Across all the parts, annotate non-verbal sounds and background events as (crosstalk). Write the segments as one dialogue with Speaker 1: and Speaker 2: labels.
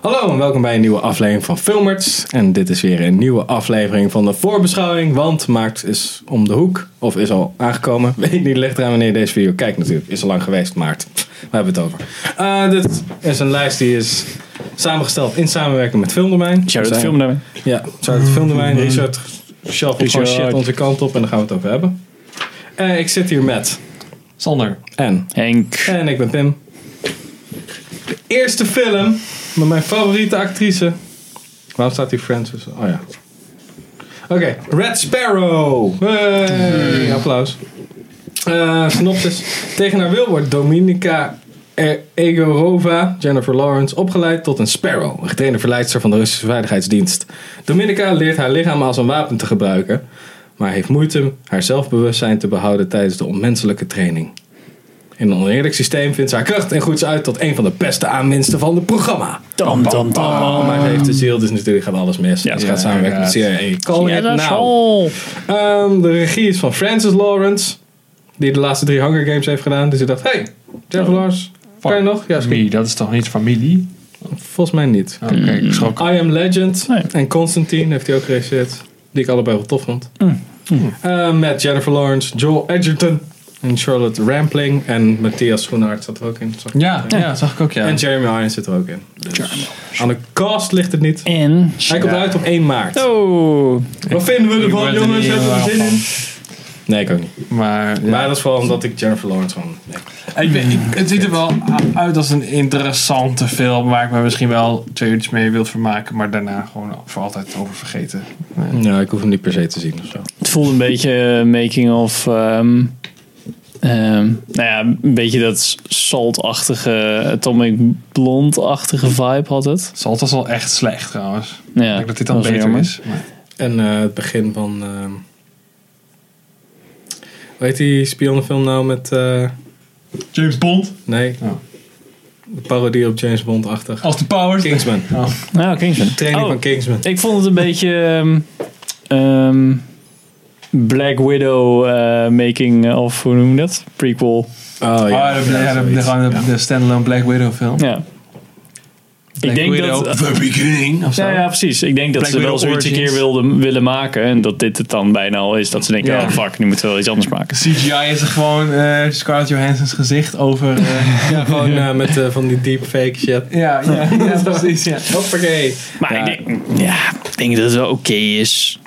Speaker 1: Hallo en welkom bij een nieuwe aflevering van Filmerts. En dit is weer een nieuwe aflevering van de voorbeschouwing. Want Maakt is om de hoek. Of is al aangekomen. (laughs) Weet niet, ligt eraan wanneer je deze video kijkt natuurlijk. Is al lang geweest, Maart. (laughs) We hebben het over. Eh, dit is een lijst die is samengesteld in samenwerking met Filmdomein.
Speaker 2: Shout out
Speaker 1: Zijn-
Speaker 2: filmdomein. Mm-hmm.
Speaker 1: Ja, zou het filmdomein, Richard, shuffle gewoon
Speaker 2: Richard.
Speaker 1: shit onze kant op en daar gaan we het over hebben. Eh, ik zit hier met
Speaker 3: Sander.
Speaker 1: en
Speaker 2: Henk.
Speaker 1: en ik ben Pim. De eerste film met mijn favoriete actrice. Waarom staat hier Francis? Oh ja. Oké, Red Sparrow. Hey, applaus. Eh synopsis. Tegen haar wil wordt Dominika E- Egorova, Jennifer Lawrence, opgeleid tot een Sparrow, een getrainde verleidster van de Russische Veiligheidsdienst. Dominika leert haar lichaam als een wapen te gebruiken, maar heeft moeite haar zelfbewustzijn te behouden tijdens de onmenselijke training. In een oneerlijk systeem vindt ze haar kracht en groeit ze uit tot een van de beste aanwinsten van het programma.
Speaker 2: Tam, tam, tam.
Speaker 1: Maar ze heeft de ziel, dus natuurlijk gaat alles mis.
Speaker 2: Ja,
Speaker 1: ze gaat samenwerken met CIA.
Speaker 3: Oh,
Speaker 1: Call it now.
Speaker 2: Nou.
Speaker 1: Ehm, de regie is van Francis Lawrence. Die de laatste drie Hunger Games heeft gedaan. Dus ik dacht, hey, Jennifer Lawrence, kan je nog? Ja, schiet.
Speaker 3: Familie, dat is toch niet familie?
Speaker 1: Volgens mij niet.
Speaker 3: Oké, ik schrok.
Speaker 1: I Am Legend
Speaker 2: Nee.
Speaker 1: en Constantine heeft hij ook geregisseerd. Die ik allebei wel tof vond. Eh, met Jennifer Lawrence, Joel Edgerton en Charlotte Rampling. En Matthias Schoenaert zat er ook in. zag ik.
Speaker 3: Ja, ja. zag ik ook, ja.
Speaker 1: En Jeremy Irons zit er ook in. Dus aan de cast ligt het niet.
Speaker 2: En.
Speaker 1: Hij komt uit op 1 maart.
Speaker 2: Oh.
Speaker 1: Wat vinden we
Speaker 3: Ik
Speaker 1: ervan,
Speaker 3: word er
Speaker 1: jongens?
Speaker 3: niet
Speaker 1: Hebben we er
Speaker 3: heel
Speaker 1: zin
Speaker 3: erg
Speaker 1: in? Nee, ik ook niet.
Speaker 3: Maar, ja.
Speaker 1: Maar dat is vooral omdat ik Jennifer Lawrence van. Nee.
Speaker 3: ik ben, ik- het ziet er wel uit als een interessante film waar ik me misschien wel twee uurtjes mee wil vermaken, maar daarna gewoon voor altijd over vergeten.
Speaker 1: Nou, ik hoef hem niet per se te zien of zo.
Speaker 2: Het voelde een beetje eh, making of. ehm, ehm, nou ja, een beetje dat saltachtige, Atomic Blonde-achtige vibe had het.
Speaker 3: Salt was wel echt slecht trouwens. ik
Speaker 2: Ja,
Speaker 3: denk dat dit dan
Speaker 2: was
Speaker 3: beter
Speaker 2: jammer.
Speaker 3: is. Maar,
Speaker 1: En eh, het begin van. ehm hoe heet die spionnenfilm nou met. eh,
Speaker 3: James Bond.
Speaker 1: nee.
Speaker 3: Oh.
Speaker 1: De parodie op James Bond-achtig.
Speaker 3: Als de Powers.
Speaker 1: Kingsman.
Speaker 2: Nou, Kingsman.
Speaker 1: Training
Speaker 2: Oh,
Speaker 1: van Kingsman.
Speaker 2: Ik vond het een beetje. ehm, ehm, Black Widow eh, making of, hoe noem je dat? Prequel.
Speaker 1: Oh
Speaker 3: Ah, de, ja, de, de, gewoon de, de standalone Black Widow film.
Speaker 2: Ja.
Speaker 3: Black
Speaker 2: denk
Speaker 3: Widow,
Speaker 2: dat-
Speaker 3: The Beginning of zo.
Speaker 2: Ja, ja, precies. Ik denk dat
Speaker 3: Black
Speaker 2: ze wel
Speaker 3: Widow
Speaker 2: zoiets een keer
Speaker 3: Origins.
Speaker 2: wilden, willen maken. En dat dit het dan bijna al is. Dat ze denken,
Speaker 3: Ja.
Speaker 2: oh fuck, nu moeten we wel iets anders maken.
Speaker 3: CGI is er gewoon eh, Scarlett Johansson's gezicht over. eh,
Speaker 1: Ja, gewoon eh, met eh, van die deepfake shit.
Speaker 2: (laughs)
Speaker 3: ja, ja, (laughs) ja, precies. Ja.
Speaker 1: Hoppakee.
Speaker 2: Maar
Speaker 1: Ja.
Speaker 2: ik, denk, ja, ik denk dat het wel oké is.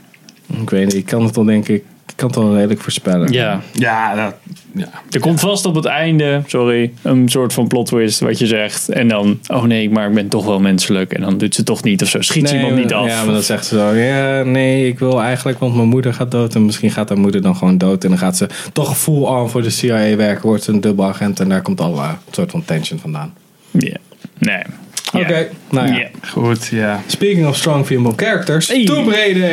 Speaker 1: Ik weet niet, ik kan het dan denk ik. Ik kan het dan redelijk voorspellen.
Speaker 2: Ja.
Speaker 3: Ja, dat, ja.
Speaker 2: Er komt vast op het einde, sorry, een soort van plot twist wat je zegt. En dan, oh nee, maar ik ben toch wel menselijk. En dan doet ze toch niet of zo. Schiet ze iemand
Speaker 1: maar-
Speaker 2: niet af.
Speaker 1: eh, Ja, maar dat zegt ze zo. Ja, nee, ik wil eigenlijk, want mijn moeder gaat dood. En misschien gaat haar moeder dan gewoon dood. En dan gaat ze toch full on voor de CIA werken. Wordt ze een dubbelagent. En daar komt al eh, een soort van tension vandaan.
Speaker 2: Ja. Nee. Ja.
Speaker 1: nou ja.
Speaker 2: Ja.
Speaker 3: Goed, ja.
Speaker 1: Speaking of strong female characters.
Speaker 2: Hey.
Speaker 1: Tomb Raider.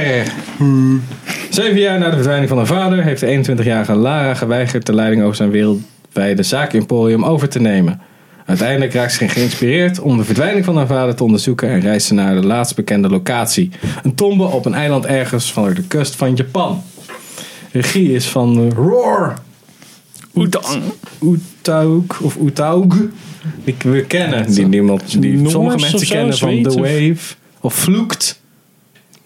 Speaker 1: Zeven jaar na de verdwijning van haar vader heeft de 21-jarige Lara geweigerd de leiding over zijn wereldwijde zaakemporium over te nemen. Uiteindelijk raakt ze geïnspireerd om de verdwijning van haar vader te onderzoeken en reist ze naar de laatst bekende locatie. Een tombe op een eiland ergens van de kust van Japan. Regie is van eh, Roar
Speaker 2: Oetang.
Speaker 1: Oetauk of Oetaug. Die we kennen. Die, niemand, die
Speaker 2: Noors
Speaker 1: sommige
Speaker 2: of
Speaker 1: mensen
Speaker 2: zo,
Speaker 1: kennen van The
Speaker 2: Zweeds of-
Speaker 1: Wave. Of Vloekt.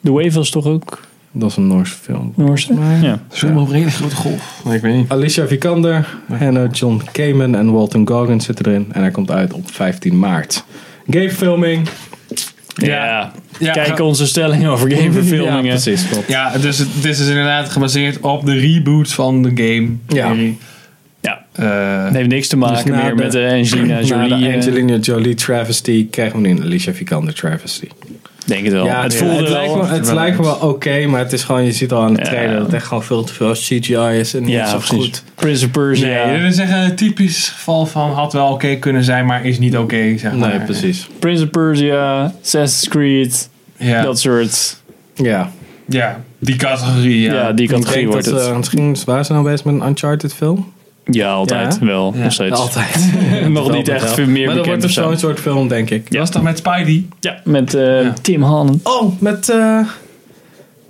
Speaker 2: De Wave was toch ook
Speaker 1: Dat is een Noorse film.
Speaker 2: Noorse? Ja.
Speaker 3: Zoom op een hele grote golf. Nee, ik weet niet.
Speaker 1: Alicia Vikander, Hannah John Kamen en Walton Goggins zitten erin. En hij komt uit op 15 maart. Gamefilming.
Speaker 2: Ja.
Speaker 3: Ja,
Speaker 2: Kijk
Speaker 3: ga-
Speaker 2: onze stelling over
Speaker 1: (laughs) Ja,
Speaker 2: gameverfilmingen.
Speaker 1: precies. klopt.
Speaker 3: Ja, dus het dit is inderdaad gebaseerd op de reboot van de game.
Speaker 1: Ja.
Speaker 2: ja.
Speaker 3: Eh,
Speaker 2: Het heeft niks te maken
Speaker 1: Dus na
Speaker 2: meer
Speaker 1: de-
Speaker 2: met de
Speaker 1: (clears throat) (laughs)
Speaker 2: Angelina
Speaker 1: Na
Speaker 2: Jolie.
Speaker 1: de
Speaker 2: eh,
Speaker 1: Angelina Jolie travesty krijgen we nu een Alicia Vikander travesty.
Speaker 2: Denk het wel. het
Speaker 1: nee,
Speaker 2: voelde
Speaker 1: het
Speaker 2: wel.
Speaker 1: lijkt me, het
Speaker 3: wel
Speaker 1: lijkt me wel oké, maar het is gewoon, je ziet al aan de
Speaker 2: Ja.
Speaker 1: trailer dat het echt gewoon veel te veel CGI is en niet
Speaker 2: ja,
Speaker 1: zo
Speaker 2: precies.
Speaker 1: goed.
Speaker 2: Prince of Persia.
Speaker 3: nee, dat is echt een typisch geval van had wel oké kunnen zijn, maar is niet oké, zeg maar.
Speaker 1: Nee, precies.
Speaker 2: Prince of Persia, Assassin's Creed,
Speaker 3: Ja,
Speaker 2: dat soort.
Speaker 1: Ja.
Speaker 3: ja die categorie, ja.
Speaker 2: Ja, die
Speaker 1: Ik
Speaker 2: categorie
Speaker 1: denk
Speaker 2: wordt
Speaker 1: dat,
Speaker 2: het.
Speaker 1: eh, misschien waren ze nou bezig met een Uncharted film.
Speaker 2: eh, ja, altijd
Speaker 1: ja.
Speaker 2: wel.
Speaker 3: Ja,
Speaker 2: Nog steeds. (laughs)
Speaker 1: Altijd.
Speaker 2: Nog niet echt veel meer
Speaker 1: maar dat wordt
Speaker 2: bekend.
Speaker 1: toch
Speaker 2: of zo.
Speaker 1: zo'n soort film, denk ik.
Speaker 3: Dat was toch met Spidey?
Speaker 2: Ja, met eh,
Speaker 3: Ja.
Speaker 2: Tim Holland.
Speaker 1: Oh, met eh,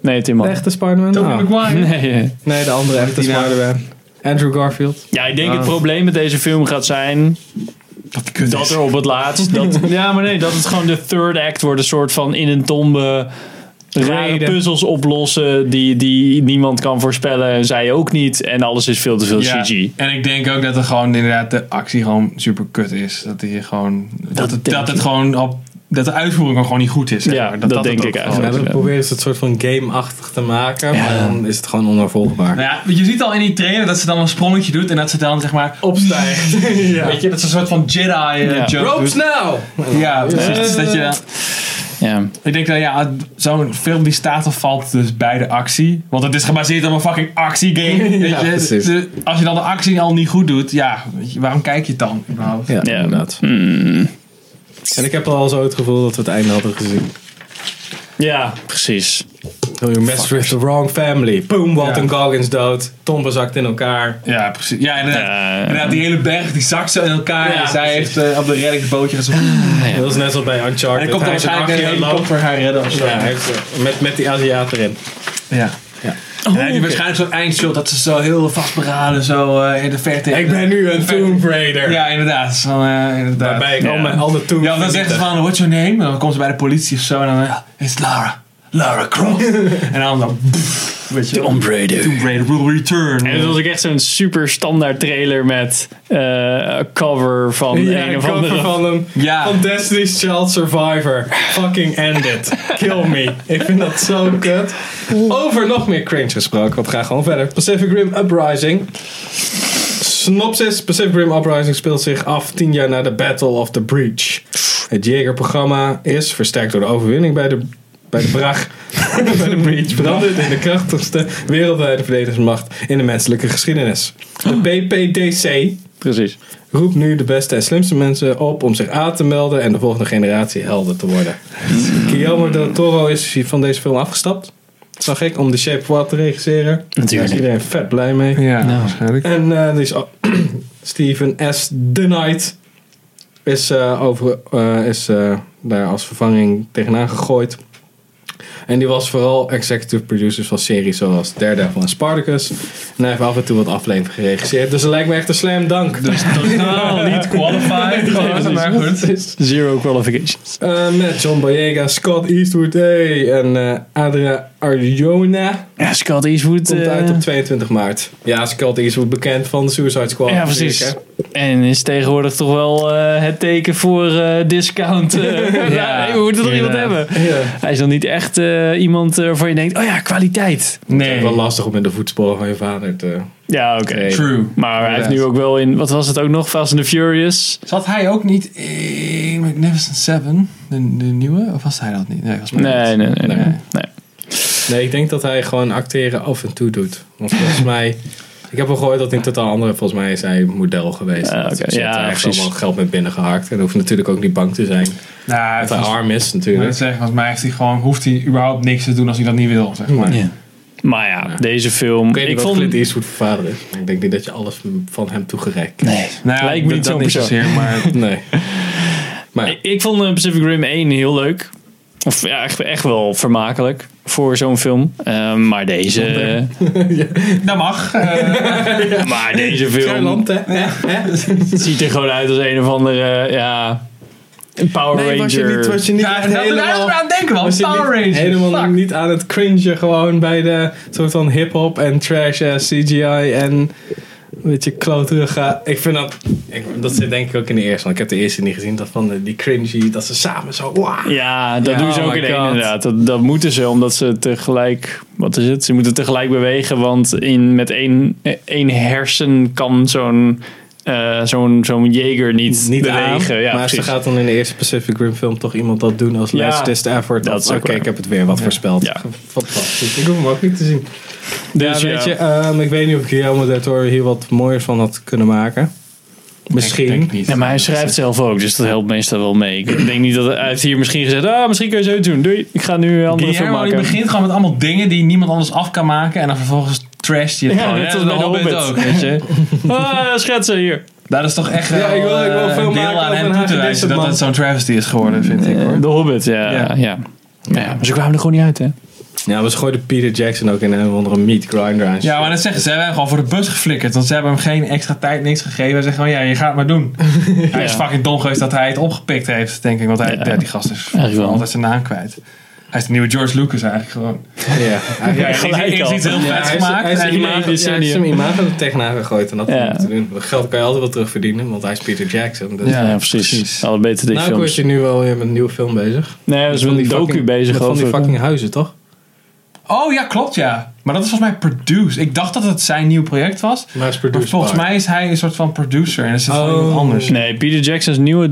Speaker 2: Nee, Tim
Speaker 1: de
Speaker 2: Holland.
Speaker 1: echte Spider-Man?
Speaker 3: Tobey
Speaker 1: Oh.
Speaker 2: (laughs)
Speaker 3: Maguire?
Speaker 2: Nee, (laughs) eh.
Speaker 1: Nee, de andere echte
Speaker 3: die nou?
Speaker 1: Spider-Man. Andrew Garfield.
Speaker 2: Ah. Ja, ik denk het probleem met deze film gaat zijn
Speaker 3: Dat kut
Speaker 2: dat
Speaker 3: is.
Speaker 2: er op het laatst. Dat, (laughs) ja, maar nee, dat het gewoon de third act wordt. Een soort van in een tombe rare
Speaker 1: Rijden.
Speaker 2: puzzels oplossen die, die niemand kan voorspellen en zij ook niet. En alles is veel te veel
Speaker 3: Ja,
Speaker 2: CG.
Speaker 3: En ik denk ook dat er gewoon inderdaad de actie gewoon super kut is. Dat die gewoon. Dat, het,
Speaker 2: denk
Speaker 3: dat
Speaker 2: ik.
Speaker 3: het gewoon op. Dat de uitvoering ook gewoon niet goed is. zeg
Speaker 2: Ja,
Speaker 3: maar.
Speaker 2: dat
Speaker 3: het
Speaker 2: denk
Speaker 3: ook
Speaker 2: ik
Speaker 3: gewoon-
Speaker 1: Ja,
Speaker 2: eigenlijk.
Speaker 1: dan
Speaker 2: Ja.
Speaker 1: Oh, proberen ze het soort van game-achtig te maken, maar
Speaker 2: Ja.
Speaker 1: dan is het gewoon onafvolgbaar.
Speaker 3: Nou ja, je ziet al in die trailer dat ze dan een sprongetje doet en dat ze dan zeg maar. (laughs)
Speaker 1: Opstijgt. ja.
Speaker 3: Weet je, dat ze een soort van Jedi eh,
Speaker 2: Ja.
Speaker 3: jump
Speaker 1: Ropes
Speaker 3: doet.
Speaker 1: now!
Speaker 3: Ja, precies. Dus dat je,
Speaker 2: Ja.
Speaker 3: ik denk dat ja, zo'n film die staat of valt dus bij de actie. Want het is gebaseerd op een fucking actiegame.
Speaker 1: (laughs)
Speaker 3: weet
Speaker 1: Ja,
Speaker 3: je.
Speaker 1: precies.
Speaker 3: De- als je dan de actie al niet goed doet, ja, weet je, waarom kijk je het dan überhaupt?
Speaker 1: Ja,
Speaker 2: Ja.
Speaker 1: inderdaad.
Speaker 2: Mm.
Speaker 1: En ik heb al zo het gevoel dat we het einde hadden gezien.
Speaker 2: ja, precies.
Speaker 1: Oh, you messed with the wrong family. Boom, Walton
Speaker 3: Ja.
Speaker 1: Goggins dood. Tombe zakt in elkaar.
Speaker 3: Ja, precies. Ja, inderdaad.
Speaker 2: Ja.
Speaker 3: inderdaad die hele berg die zakt zo in elkaar.
Speaker 1: Ja,
Speaker 3: en zij heeft eh, op de reddingsbootje gezongen.
Speaker 1: (laughs) Dat is net zoals bij Uncharted.
Speaker 3: En er komt dan
Speaker 1: Hij is een
Speaker 3: waarschijnlijk een
Speaker 1: acht jaar lang-
Speaker 3: helikopter haar redden of zo.
Speaker 1: Ja, hij heeft, eh, met, met die Aziat erin.
Speaker 3: Ja.
Speaker 2: Oh,
Speaker 3: En die
Speaker 2: oké.
Speaker 3: waarschijnlijk zo'n eindshot dat ze zo heel vastberaden zo eh, in de verte.
Speaker 1: Ik ben nu een Tomb Raider.
Speaker 3: Ja, inderdaad. Zo, eh, inderdaad.
Speaker 1: Waarbij ik
Speaker 2: Ja.
Speaker 1: al mijn alle Tomb
Speaker 3: Ja, of dan zegt ze van, what's your name? En dan komt ze bij de politie of zo en dan, ja, it's Lara. Lara Croft. en dan dan, pff, weet je,
Speaker 2: Tomb Raider.
Speaker 3: Tomb Raider will return.
Speaker 2: En het was ook echt zo'n super standaard trailer met eh, een cover van
Speaker 1: Ja,
Speaker 2: een
Speaker 1: ik
Speaker 2: of
Speaker 1: hoop
Speaker 2: andere.
Speaker 1: van hem.
Speaker 3: Ja.
Speaker 1: Van Destiny's Child Survivor. Fucking end it. Kill me. Ik vind dat zo kut. Over nog meer cringe gesproken. Want we gaan gewoon verder. Pacific Rim Uprising. Synopsis. Pacific Rim Uprising speelt zich af tien jaar na de Battle of the Breach. Het Jaeger-programma is, versterkt door de overwinning bij de, bij de Brag, (laughs) bij de Breach, veranderd in de krachtigste wereldwijde verdedigingsmacht in de menselijke geschiedenis. De PPDC,
Speaker 2: Precies.
Speaker 1: Roep nu de beste en slimste mensen op om zich aan te melden en de volgende generatie helden te worden. Guillermo del Toro is hier van deze film afgestapt. Dat zag ik om The Shape of Water te regisseren. Daar is
Speaker 2: Natuurlijk.
Speaker 1: iedereen vet blij mee.
Speaker 3: Ja,
Speaker 2: Nou.
Speaker 3: waarschijnlijk.
Speaker 1: En eh, die is al- (clears throat) Steven S. The Knight is, eh, over, eh, is eh, daar als vervanging tegenaan gegooid. En die was vooral executive producer van series zoals Daredevil en Spartacus. En hij heeft af en toe wat afleveringen geregisseerd. Dus het lijkt me echt een slam dunk.
Speaker 3: Dus
Speaker 1: (laughs)
Speaker 3: totaal niet (laughs) qualified. gewoon, maar goed.
Speaker 2: Zero qualifications.
Speaker 1: Eh, met John Boyega, Scott Eastwood hey, en eh, Adria Arjona.
Speaker 2: Ja, Scott Eastwood.
Speaker 1: Komt
Speaker 2: eh,
Speaker 1: uit op 22 maart. Ja, Scott Eastwood bekend van de Suicide Squad.
Speaker 2: Ja, precies.
Speaker 1: natuurlijk,
Speaker 2: En is tegenwoordig toch wel eh, het teken voor eh, discount. (laughs) eh.
Speaker 3: Ja,
Speaker 2: we moeten toch iemand
Speaker 3: inderdaad.
Speaker 2: hebben.
Speaker 1: hè? Ja.
Speaker 2: Hij is dan niet echt eh, iemand eh, waarvan je denkt, oh ja, kwaliteit.
Speaker 1: Het
Speaker 3: Nee,
Speaker 1: is wel lastig om in de voetsporen van je vader te...
Speaker 2: Ja, oké.
Speaker 3: true.
Speaker 2: Maar hij heeft nu ook wel in, wat was het ook nog, Fast and the Furious.
Speaker 3: Zat hij ook niet in Magnificent Seven, de, de nieuwe? Of was hij dat niet? Nee, was mij
Speaker 2: Nee, nee,
Speaker 3: niet.
Speaker 2: nee. nee,
Speaker 3: Nee.
Speaker 2: nee.
Speaker 1: Nee, ik denk dat hij gewoon acteren af en toe doet. Want volgens mij... Ik heb wel gehoord dat in totaal andere... Volgens mij is hij model geweest.
Speaker 2: Ah, oké.
Speaker 1: Dus hij
Speaker 2: Ja,
Speaker 1: heeft er echt
Speaker 2: precies.
Speaker 1: allemaal geld mee binnengehaakt. En hoeft natuurlijk ook niet bang te zijn.
Speaker 3: Nou,
Speaker 1: Dat hij
Speaker 3: volgens-
Speaker 1: arm is
Speaker 3: ik wil
Speaker 1: natuurlijk.
Speaker 3: het zeggen, volgens mij heeft hij gewoon, hoeft hij überhaupt niks te doen als hij dat niet wil.
Speaker 1: Hm.
Speaker 3: Zeg maar.
Speaker 2: Maar ja, deze film.
Speaker 1: Ik weet niet
Speaker 2: Ik
Speaker 1: wat
Speaker 2: vond
Speaker 1: Clint Eastwood voor vader is. maar Ik denk niet dat je alles van hem toegereikt krijgt.
Speaker 2: Nee,
Speaker 3: Nou,
Speaker 2: lijkt me
Speaker 3: dat-
Speaker 2: niet
Speaker 3: dat
Speaker 2: zo'n persoon.
Speaker 3: zozeer, maar
Speaker 1: Nee. Maar
Speaker 2: Ik, ik vond eh, Pacific Rim 1 heel leuk. Of ja, echt, echt wel vermakelijk voor zo'n film. Eh, maar deze.
Speaker 3: dat mag. Eh,
Speaker 1: (laughs)
Speaker 2: maar deze
Speaker 1: Klein
Speaker 2: film.
Speaker 1: land, hè?
Speaker 3: (laughs)
Speaker 1: Hè?
Speaker 2: Het ziet er gewoon uit als een of andere, eh, ja, een Power
Speaker 1: Nee, was je
Speaker 2: Ranger.
Speaker 1: niet, was je niet
Speaker 3: ja,
Speaker 1: echt
Speaker 3: dat helemaal,
Speaker 1: helemaal...
Speaker 3: aan het denken, man.
Speaker 1: was je
Speaker 3: Power
Speaker 1: niet
Speaker 3: Rangers.
Speaker 1: helemaal
Speaker 3: fuck.
Speaker 1: niet aan het cringen gewoon bij de soort van hip-hop en trash eh, CGI en een beetje kloterige. Ik vind dat, ik, dat zit denk ik ook in de eerste, want ik heb de eerste niet gezien, dat van de- die cringy, dat ze samen zo, wow.
Speaker 2: Ja, dat
Speaker 1: Ja,
Speaker 2: doen ze
Speaker 1: oh
Speaker 2: ook
Speaker 1: my
Speaker 2: in één,
Speaker 1: God.
Speaker 2: inderdaad. Dat, dat moeten ze, omdat ze tegelijk... Wat is het? Ze moeten tegelijk bewegen, want in, met één, eh, één hersen kan zo'n eh zo'n zo'n jager niet,
Speaker 1: Niet
Speaker 2: bewegen.
Speaker 1: aan,
Speaker 2: ja,
Speaker 1: maar
Speaker 2: precies.
Speaker 1: ze gaat dan in de eerste Pacific Rim film toch iemand dat doen als
Speaker 2: Ja,
Speaker 1: last effort.
Speaker 2: dat
Speaker 1: of,
Speaker 2: is ook
Speaker 1: Oké,
Speaker 2: waar.
Speaker 1: ik heb het weer wat voorspeld.
Speaker 2: Ja.
Speaker 1: Fantastisch. Ik hoef hem ook niet te zien.
Speaker 2: Dus
Speaker 1: ja, weet je, ehm, ik weet niet of Guillermo del Toro hier wat mooiers van had kunnen maken. Misschien.
Speaker 3: Ik denk niet.
Speaker 2: Ja, maar hij schrijft zelf ook, dus dat helpt meestal wel mee. Ik denk niet dat hij hij heeft hier misschien gezegd... Ah, misschien kun je zo doen. Doei, ik ga nu een andere film
Speaker 3: Guillermo die
Speaker 2: maken.
Speaker 3: begint gewoon met allemaal dingen die niemand anders af kan maken. En dan vervolgens trash je het
Speaker 2: Oh, Ja,
Speaker 3: gewoon.
Speaker 2: net
Speaker 3: dat
Speaker 2: als bij
Speaker 3: is
Speaker 2: de Hobbit.
Speaker 3: ook, weet je.
Speaker 2: (laughs) Ah, schetsen hier.
Speaker 3: Dat is toch echt
Speaker 1: Ja,
Speaker 3: wel,
Speaker 1: ik wil- ik wil
Speaker 3: eh,
Speaker 1: veel
Speaker 3: een
Speaker 1: maken
Speaker 3: deel aan
Speaker 1: over
Speaker 3: hem toe
Speaker 1: Hagen
Speaker 3: te wijzen dat
Speaker 1: Disselman.
Speaker 3: het zo'n travesty is geworden, vind ik hoor.
Speaker 2: De Hobbit, ja.
Speaker 3: Ja.
Speaker 2: ja. ja. maar ze kwamen er gewoon niet uit, hè?
Speaker 1: Ja, maar ze gooiden Peter Jackson ook in een of andere meat grinder aan.
Speaker 3: Ja, maar dat zeggen ze, ze hebben hem gewoon voor de bus geflikkerd. Want ze hebben hem geen extra tijd, niks gegeven. Ze zeggen gewoon, ja, je gaat het maar doen. Hij is fucking dom geweest dat hij het opgepikt heeft, denk ik. Want hij,
Speaker 2: Ja.
Speaker 3: ja, die gast is
Speaker 2: Eigenlijk wel.
Speaker 3: altijd zijn naam kwijt. Hij is de nieuwe George Lucas eigenlijk gewoon.
Speaker 2: (laughs)
Speaker 1: Ja.
Speaker 3: Ja, hij heeft
Speaker 2: Gelijk
Speaker 3: iets-
Speaker 2: al.
Speaker 3: iets heel
Speaker 1: Ja,
Speaker 3: vets
Speaker 1: hij is-
Speaker 3: gemaakt.
Speaker 1: Hij is
Speaker 3: en-
Speaker 1: zijn imago, ja, hij is zijn imago de tegen haar gegooid. En dat
Speaker 2: Ja.
Speaker 1: ja. te doen. Dat Geld kan je altijd wel terugverdienen, want hij is Peter Jackson. Dus.
Speaker 2: Ja, precies. Alle beter die
Speaker 1: Nou, ik
Speaker 2: films.
Speaker 1: word je nu wel weer met een nieuwe film bezig.
Speaker 2: Nee, er is
Speaker 1: Van
Speaker 2: een
Speaker 1: die
Speaker 2: docu
Speaker 1: fucking-
Speaker 2: bezig
Speaker 1: met Van die
Speaker 2: over.
Speaker 1: fucking huizen, toch?
Speaker 3: Oh ja, klopt ja. Maar dat is volgens mij produced. Ik dacht dat het zijn nieuw project was.
Speaker 1: Maar hij is
Speaker 3: Maar
Speaker 1: produced
Speaker 3: volgens
Speaker 1: by-
Speaker 3: mij is hij een soort van producer. En er zit gewoon
Speaker 1: Oh.
Speaker 3: iemand anders.
Speaker 2: Nee, Peter Jackson's nieuwe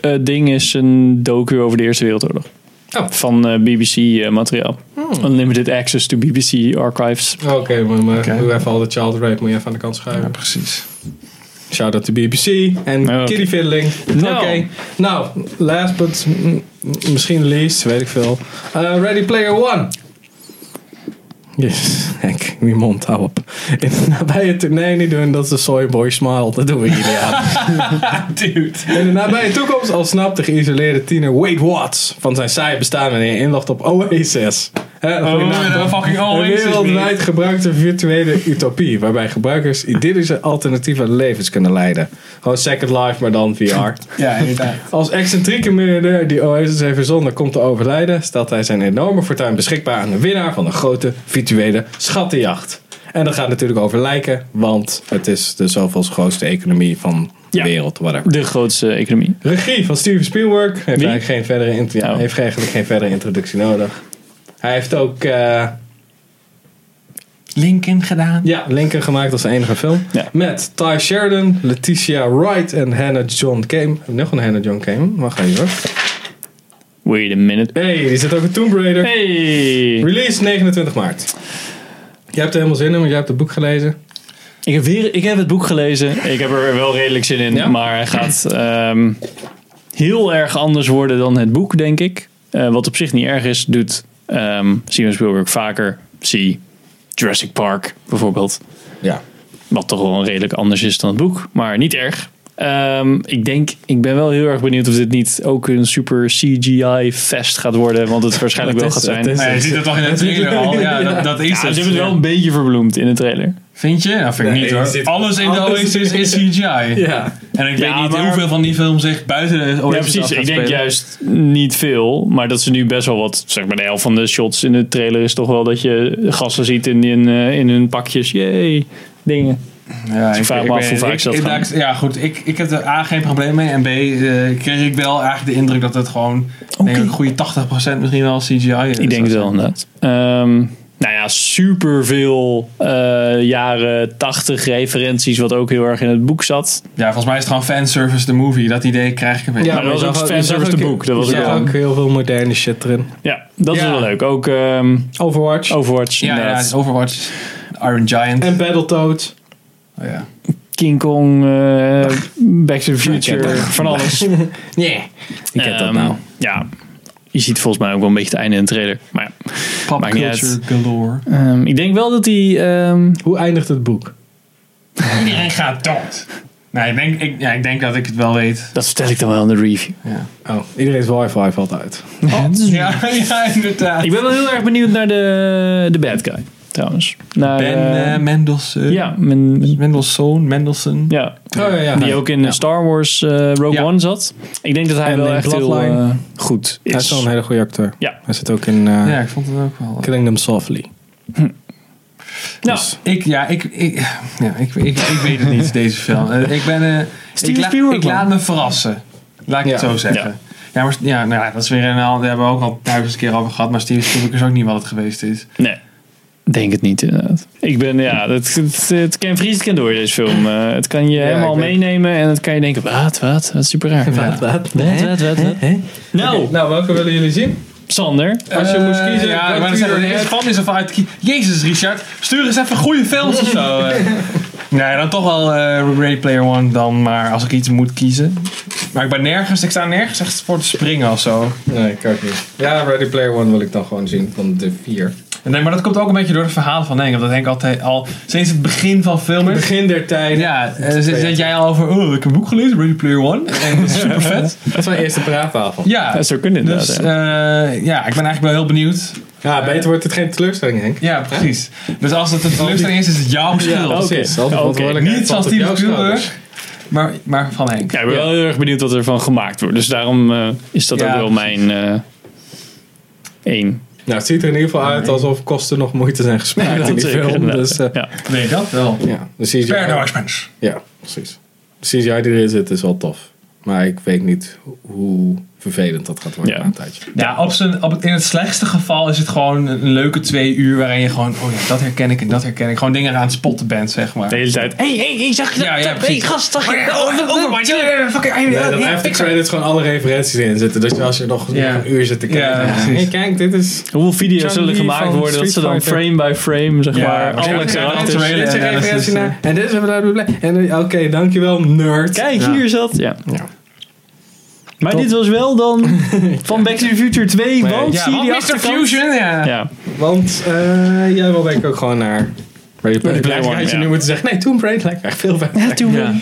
Speaker 2: eh, ding is een docu over de Eerste Wereldoorlog.
Speaker 1: Oh. Hmm.
Speaker 2: Van eh, BBC-materiaal. Unlimited access to BBC archives.
Speaker 1: Oh, Oké, maar, maar
Speaker 3: Oké.
Speaker 1: doe even al de child rape moet je even aan de kant schuiven.
Speaker 3: Ja, precies.
Speaker 1: Shout out to BBC en
Speaker 2: Oh, oké.
Speaker 1: Kitty Fiddling.
Speaker 2: Nou.
Speaker 1: Oké. Nou, last but mm, misschien least, weet ik veel. Eh, Ready Player One. Yes, Henk, die mond, hou op. In het nabije toernooi niet doen dat de soyboy smile, dat doen we jullie
Speaker 2: (laughs)
Speaker 1: aan.
Speaker 3: Dude.
Speaker 1: In de nabije toekomst al snapt de geïsoleerde tiener Wade Watts van zijn saaie bestaan wanneer hij inlogt op Oasis. Hè, dat vond ik nou-
Speaker 3: Oh, fucking
Speaker 1: een
Speaker 3: always is me.
Speaker 1: wereldwijd gebruikte virtuele utopie, waarbij gebruikers idyllische alternatieve levens kunnen leiden. Gewoon Second Life, maar dan VR.
Speaker 3: Ja, inderdaad.
Speaker 1: Als excentrieke miljardair die Oasis heeft verzonnen komt te overlijden, stelt hij zijn enorme fortuin beschikbaar aan de winnaar van een grote virtuele schattenjacht. En dat gaat natuurlijk over lijken, want het is de zoveel grootste economie van de
Speaker 2: Ja.
Speaker 1: wereld, whatever.
Speaker 2: De grootste economie.
Speaker 1: Regie van Steven Spielberg. Heeft, eigenlijk geen, verdere int- ja,
Speaker 2: Oh.
Speaker 1: heeft eigenlijk geen verdere introductie nodig. Hij heeft ook eh,
Speaker 3: Lincoln gedaan.
Speaker 1: ja, Linker gemaakt als de enige film.
Speaker 2: Ja.
Speaker 1: Met Ty Sheridan, Letitia Wright en Hannah John Kame. Nog een Hannah John Kame. Wacht even hoor.
Speaker 2: Wait a minute.
Speaker 1: Hey, die zit ook in Tomb Raider.
Speaker 2: Hey!
Speaker 1: Release 29 maart. Jij hebt er helemaal zin in, want jij hebt het boek gelezen.
Speaker 2: Ik heb, weer, ik heb het boek gelezen. Ik heb er wel redelijk zin in.
Speaker 1: Ja?
Speaker 2: Maar hij gaat ehm, heel erg anders worden dan het boek, denk ik. Eh, wat op zich niet erg is, doet ehm Steven Spielberg vaker. Zie Jurassic Park bijvoorbeeld.
Speaker 1: Ja.
Speaker 2: Wat toch wel redelijk anders is dan het boek, maar niet erg. Ehm, ik denk, ik ben wel heel erg benieuwd of dit niet ook een super CGI-fest gaat worden. Want het waarschijnlijk wel
Speaker 1: Het
Speaker 2: gaat
Speaker 1: is-
Speaker 2: zijn.
Speaker 1: het is-
Speaker 3: Nee, je ziet het toch in de trailer al. (laughs) Ja, dat, dat is
Speaker 2: ja, ze
Speaker 3: het.
Speaker 2: hebben het wel een beetje verbloemd in de trailer.
Speaker 3: Vind je? Nou, vind ik
Speaker 1: Nee,
Speaker 3: niet
Speaker 1: je
Speaker 3: hoor.
Speaker 1: zit-
Speaker 3: Alles in de
Speaker 1: alles-
Speaker 3: Oasis is CGI.
Speaker 1: Ja.
Speaker 3: En ik
Speaker 2: Ja,
Speaker 3: weet niet
Speaker 2: maar-
Speaker 3: hoeveel van die film zich buiten de Oasis
Speaker 2: Ja,
Speaker 3: af
Speaker 2: precies.
Speaker 3: gaat
Speaker 2: Ik denk
Speaker 3: spelen.
Speaker 2: juist niet veel. Maar dat ze nu best wel wat, zeg maar de helft van de shots in de trailer is toch wel dat je gasten ziet in, in, eh, in hun pakjes. Jee, dingen.
Speaker 3: Ja,
Speaker 2: ik vraag me af hoe vaak ze dat
Speaker 3: ik-
Speaker 2: gaan.
Speaker 3: daar- Ja, goed. Ik, ik heb er A, geen probleem mee. En B, eh, kreeg ik wel eigenlijk de indruk dat het gewoon... denk ik, een goede 80% misschien wel CGI is.
Speaker 2: Ik denk het wel, inderdaad. Ehm, nou ja, superveel eh jaren 80 referenties, wat ook heel erg in het boek zat.
Speaker 3: Ja, volgens mij is het gewoon fanservice de movie. Dat idee krijg ik een beetje.
Speaker 2: maar dat was
Speaker 1: je
Speaker 2: ook
Speaker 1: zag je
Speaker 2: fanservice
Speaker 1: zag
Speaker 2: te
Speaker 1: ook-
Speaker 2: boek, dat was
Speaker 1: je
Speaker 3: ook
Speaker 1: zag
Speaker 3: wel.
Speaker 1: ook heel veel moderne shit erin.
Speaker 2: Ja, dat is
Speaker 3: Ja.
Speaker 2: wel leuk. Ook ehm,
Speaker 1: Overwatch.
Speaker 2: Overwatch,
Speaker 3: Ja, ja,
Speaker 2: inderdaad.
Speaker 3: Overwatch, Iron Giant.
Speaker 1: En Battletoads. (laughs)
Speaker 3: Oh, ja.
Speaker 2: King Kong, eh, Back to
Speaker 1: (laughs)
Speaker 2: the
Speaker 1: Ik
Speaker 2: Future,
Speaker 1: heb dat.
Speaker 2: van alles.
Speaker 1: Nee. Ik heb dat
Speaker 2: Ehm,
Speaker 1: nou.
Speaker 2: Ja, je ziet volgens mij ook wel een beetje het einde in de trailer. Maar ja.
Speaker 3: Pop
Speaker 2: Maakt niet
Speaker 3: culture galore.
Speaker 2: Ehm, ik denk wel dat die... ehm,
Speaker 1: Hoe eindigt het boek?
Speaker 3: Iedereen gaat dood. Nee, ik denk, ik, ja, ik denk dat ik het wel weet.
Speaker 2: dat vertel ik dan wel in de review.
Speaker 3: Ja,
Speaker 1: Oh, iedereen's wifi valt uit.
Speaker 3: ja, (laughs) ja, inderdaad.
Speaker 2: Oh. Ik ben wel heel erg benieuwd naar de, de bad guy, trouwens. Naar,
Speaker 3: ben
Speaker 2: eh,
Speaker 3: eh, Mendelssohn.
Speaker 2: ja, mijn, mijn-
Speaker 3: Mendelssohn, Mendelssohn.
Speaker 2: ja,
Speaker 1: Oh ja, ja.
Speaker 2: die ook in eh, Star Wars eh, Rogue
Speaker 3: Ja.
Speaker 2: One zat. Ik denk dat hij
Speaker 1: En
Speaker 2: wel
Speaker 1: in
Speaker 2: echt heel
Speaker 1: Bloodline.
Speaker 2: eh, goed is.
Speaker 1: Hij is wel een hele goede acteur.
Speaker 2: Ja.
Speaker 1: Hij zit ook in eh,
Speaker 3: Ja, ik vond het ook wel.
Speaker 1: Killing Them Softly.
Speaker 2: nou,
Speaker 1: Dus-
Speaker 3: Ik, ja, ik, ik, ja, ik, ik, ik weet het
Speaker 1: (laughs)
Speaker 3: niet, deze film. Eh, Ik ben... eh,
Speaker 2: Steven
Speaker 3: ik, la-
Speaker 2: Spielberg,
Speaker 3: ik
Speaker 2: man.
Speaker 3: laat me verrassen. Laat ik het
Speaker 1: Ja.
Speaker 3: zo zeggen.
Speaker 2: Ja.
Speaker 3: Ja. maar ja, nou ja, dat is weer een al, daar hebben we ook al duizend keer over gehad. Maar Steven Spielberg is ook niet wat het geweest is.
Speaker 2: Nou, nee. Denk het niet, inderdaad. Ik ben, ja, het, het, het kan vries, het kan door deze film. Eh, het kan je helemaal
Speaker 1: ik weet-
Speaker 2: meenemen en het kan je denken, wat, wat, wat super raar.
Speaker 1: Wat?
Speaker 2: Wat, wat, wat, wat? Nou,
Speaker 1: Nou, welke willen jullie zien?
Speaker 2: Sander.
Speaker 1: Als je
Speaker 3: Eh,
Speaker 1: moest kiezen,
Speaker 3: Ja,
Speaker 1: wat
Speaker 3: maar dan
Speaker 1: doe je
Speaker 3: zeggen we,
Speaker 1: dan?
Speaker 3: deze fan is er vanuit. kie- Jezus, Richard, stuur eens even goede films of zo.
Speaker 1: (laughs)
Speaker 3: eh. nee, dan toch wel eh Ready Player One dan. Maar als ik iets moet kiezen. Maar ik ben nergens, ik sta nergens echt voor te springen of zo.
Speaker 1: Nee, ik ook niet. Ja, Ready Player One wil ik dan gewoon zien van de vier.
Speaker 3: Nee, maar dat komt ook een beetje door het verhaal van Henk. Omdat Henk altijd al sinds het begin van filmen.
Speaker 1: Begin der tijd.
Speaker 3: Ja, eh, zet, zet jij al over, oh, ik heb een boek gelezen, Ready Player One. En dat is super vet.
Speaker 1: Dat is mijn eerste praatavond.
Speaker 3: Ja,
Speaker 2: Dat zou kunnen, inderdaad.
Speaker 3: dus
Speaker 2: ja.
Speaker 3: eh, ja, ik ben eigenlijk wel heel benieuwd
Speaker 1: Ja, beter wordt het geen teleurstelling, Henk.
Speaker 3: Ja, precies. Dus als het een teleurstelling is, is het jouw schuld.
Speaker 2: oké.
Speaker 1: precies. Al die
Speaker 2: Oké,
Speaker 1: verantwoordelijkheid
Speaker 3: Niet van
Speaker 1: valt op
Speaker 3: Steven
Speaker 1: jouw schouders.
Speaker 3: Spielberg, maar, maar van Henk.
Speaker 2: Ja, ik ben wel heel erg benieuwd wat ervan gemaakt wordt. Dus daarom eh, is dat
Speaker 3: Ja,
Speaker 2: ook wel mijn eh één.
Speaker 1: Nou, het ziet er in ieder geval uit alsof kosten nog moeite zijn
Speaker 2: Ja,
Speaker 1: gespaard in die
Speaker 2: dat zeker,
Speaker 1: film.
Speaker 2: inderdaad.
Speaker 1: Dus, eh,
Speaker 2: ja.
Speaker 3: Nee, dat wel.
Speaker 1: ja. de CGI
Speaker 3: Spare no expense.
Speaker 1: Ja, precies. De CGI die erin zit is wel tof. Maar ik weet niet ho- hoe vervelend dat gaat worden
Speaker 2: Ja.
Speaker 1: na een tijdje.
Speaker 3: Ja, op zijn, op, het- in het slechtste geval is het gewoon een leuke twee uur waarin je gewoon, oh ja, dat herken ik en dat herken ik. Gewoon dingen aan het spotten bent, zeg maar.
Speaker 2: De hele tijd. Hé, hé, hé, zag je dat?
Speaker 3: Ja, ja,
Speaker 2: hey,
Speaker 3: precies.
Speaker 2: gast, zag je
Speaker 3: Oh, ja, oh, Overwatch, ja, ja, ja, fucking-
Speaker 1: Nee, dat
Speaker 3: ja,
Speaker 1: heeft de
Speaker 3: Pixar.
Speaker 1: credits gewoon alle referenties in zitten. Dus als je nog
Speaker 3: Ja.
Speaker 1: een uur zit te kijken.
Speaker 3: Ja, precies.
Speaker 1: hey, kijk, dit is...
Speaker 2: Hoeveel video's zullen
Speaker 1: Johnny
Speaker 2: gemaakt
Speaker 1: van
Speaker 2: worden dat ze dan
Speaker 1: Street Fighter.
Speaker 2: frame by frame, zeg
Speaker 3: Ja,
Speaker 2: maar,
Speaker 3: maar
Speaker 2: alle
Speaker 3: ja,
Speaker 1: Dit
Speaker 2: karakters.
Speaker 3: trailer
Speaker 1: is een
Speaker 3: analysis,
Speaker 1: referentie
Speaker 3: ja.
Speaker 1: naar... En dit is een blablabla. En eh, oké, dankjewel, nerd.
Speaker 2: Kijk,
Speaker 1: Ja.
Speaker 2: hier zat. Ja.
Speaker 1: Ja.
Speaker 2: Maar dit was wel
Speaker 3: (laughs)
Speaker 2: dan van Back to the Future 2,
Speaker 1: Nee.
Speaker 2: want
Speaker 3: Ja,
Speaker 2: zie je
Speaker 3: want
Speaker 2: die
Speaker 3: Mr.
Speaker 2: achterkant?
Speaker 3: Fusion, ja.
Speaker 2: Ja,
Speaker 1: Want eh, jij wil denk ik ook gewoon naar... Ready Player
Speaker 2: Player
Speaker 1: One.
Speaker 2: One,
Speaker 1: Had je
Speaker 2: ja.
Speaker 1: nu moeten zeggen, nee, Tomb Raider lijkt me echt veel verder.
Speaker 2: toen
Speaker 3: Ja.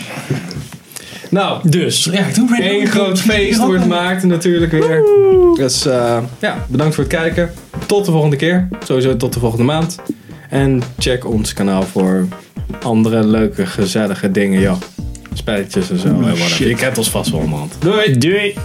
Speaker 1: Nou,
Speaker 2: Dus,
Speaker 3: Ja, Tomb Raider.
Speaker 1: Eén groot feest wordt gemaakt natuurlijk weer. Dus eh, ja, bedankt voor het kijken. Tot de volgende keer. Sowieso tot de volgende maand. En check ons kanaal voor andere leuke, eh, gezellige dingen, joh. Spelletjes en zo. en whatever. Je kent ons vast wel, man.
Speaker 2: doei. Doei.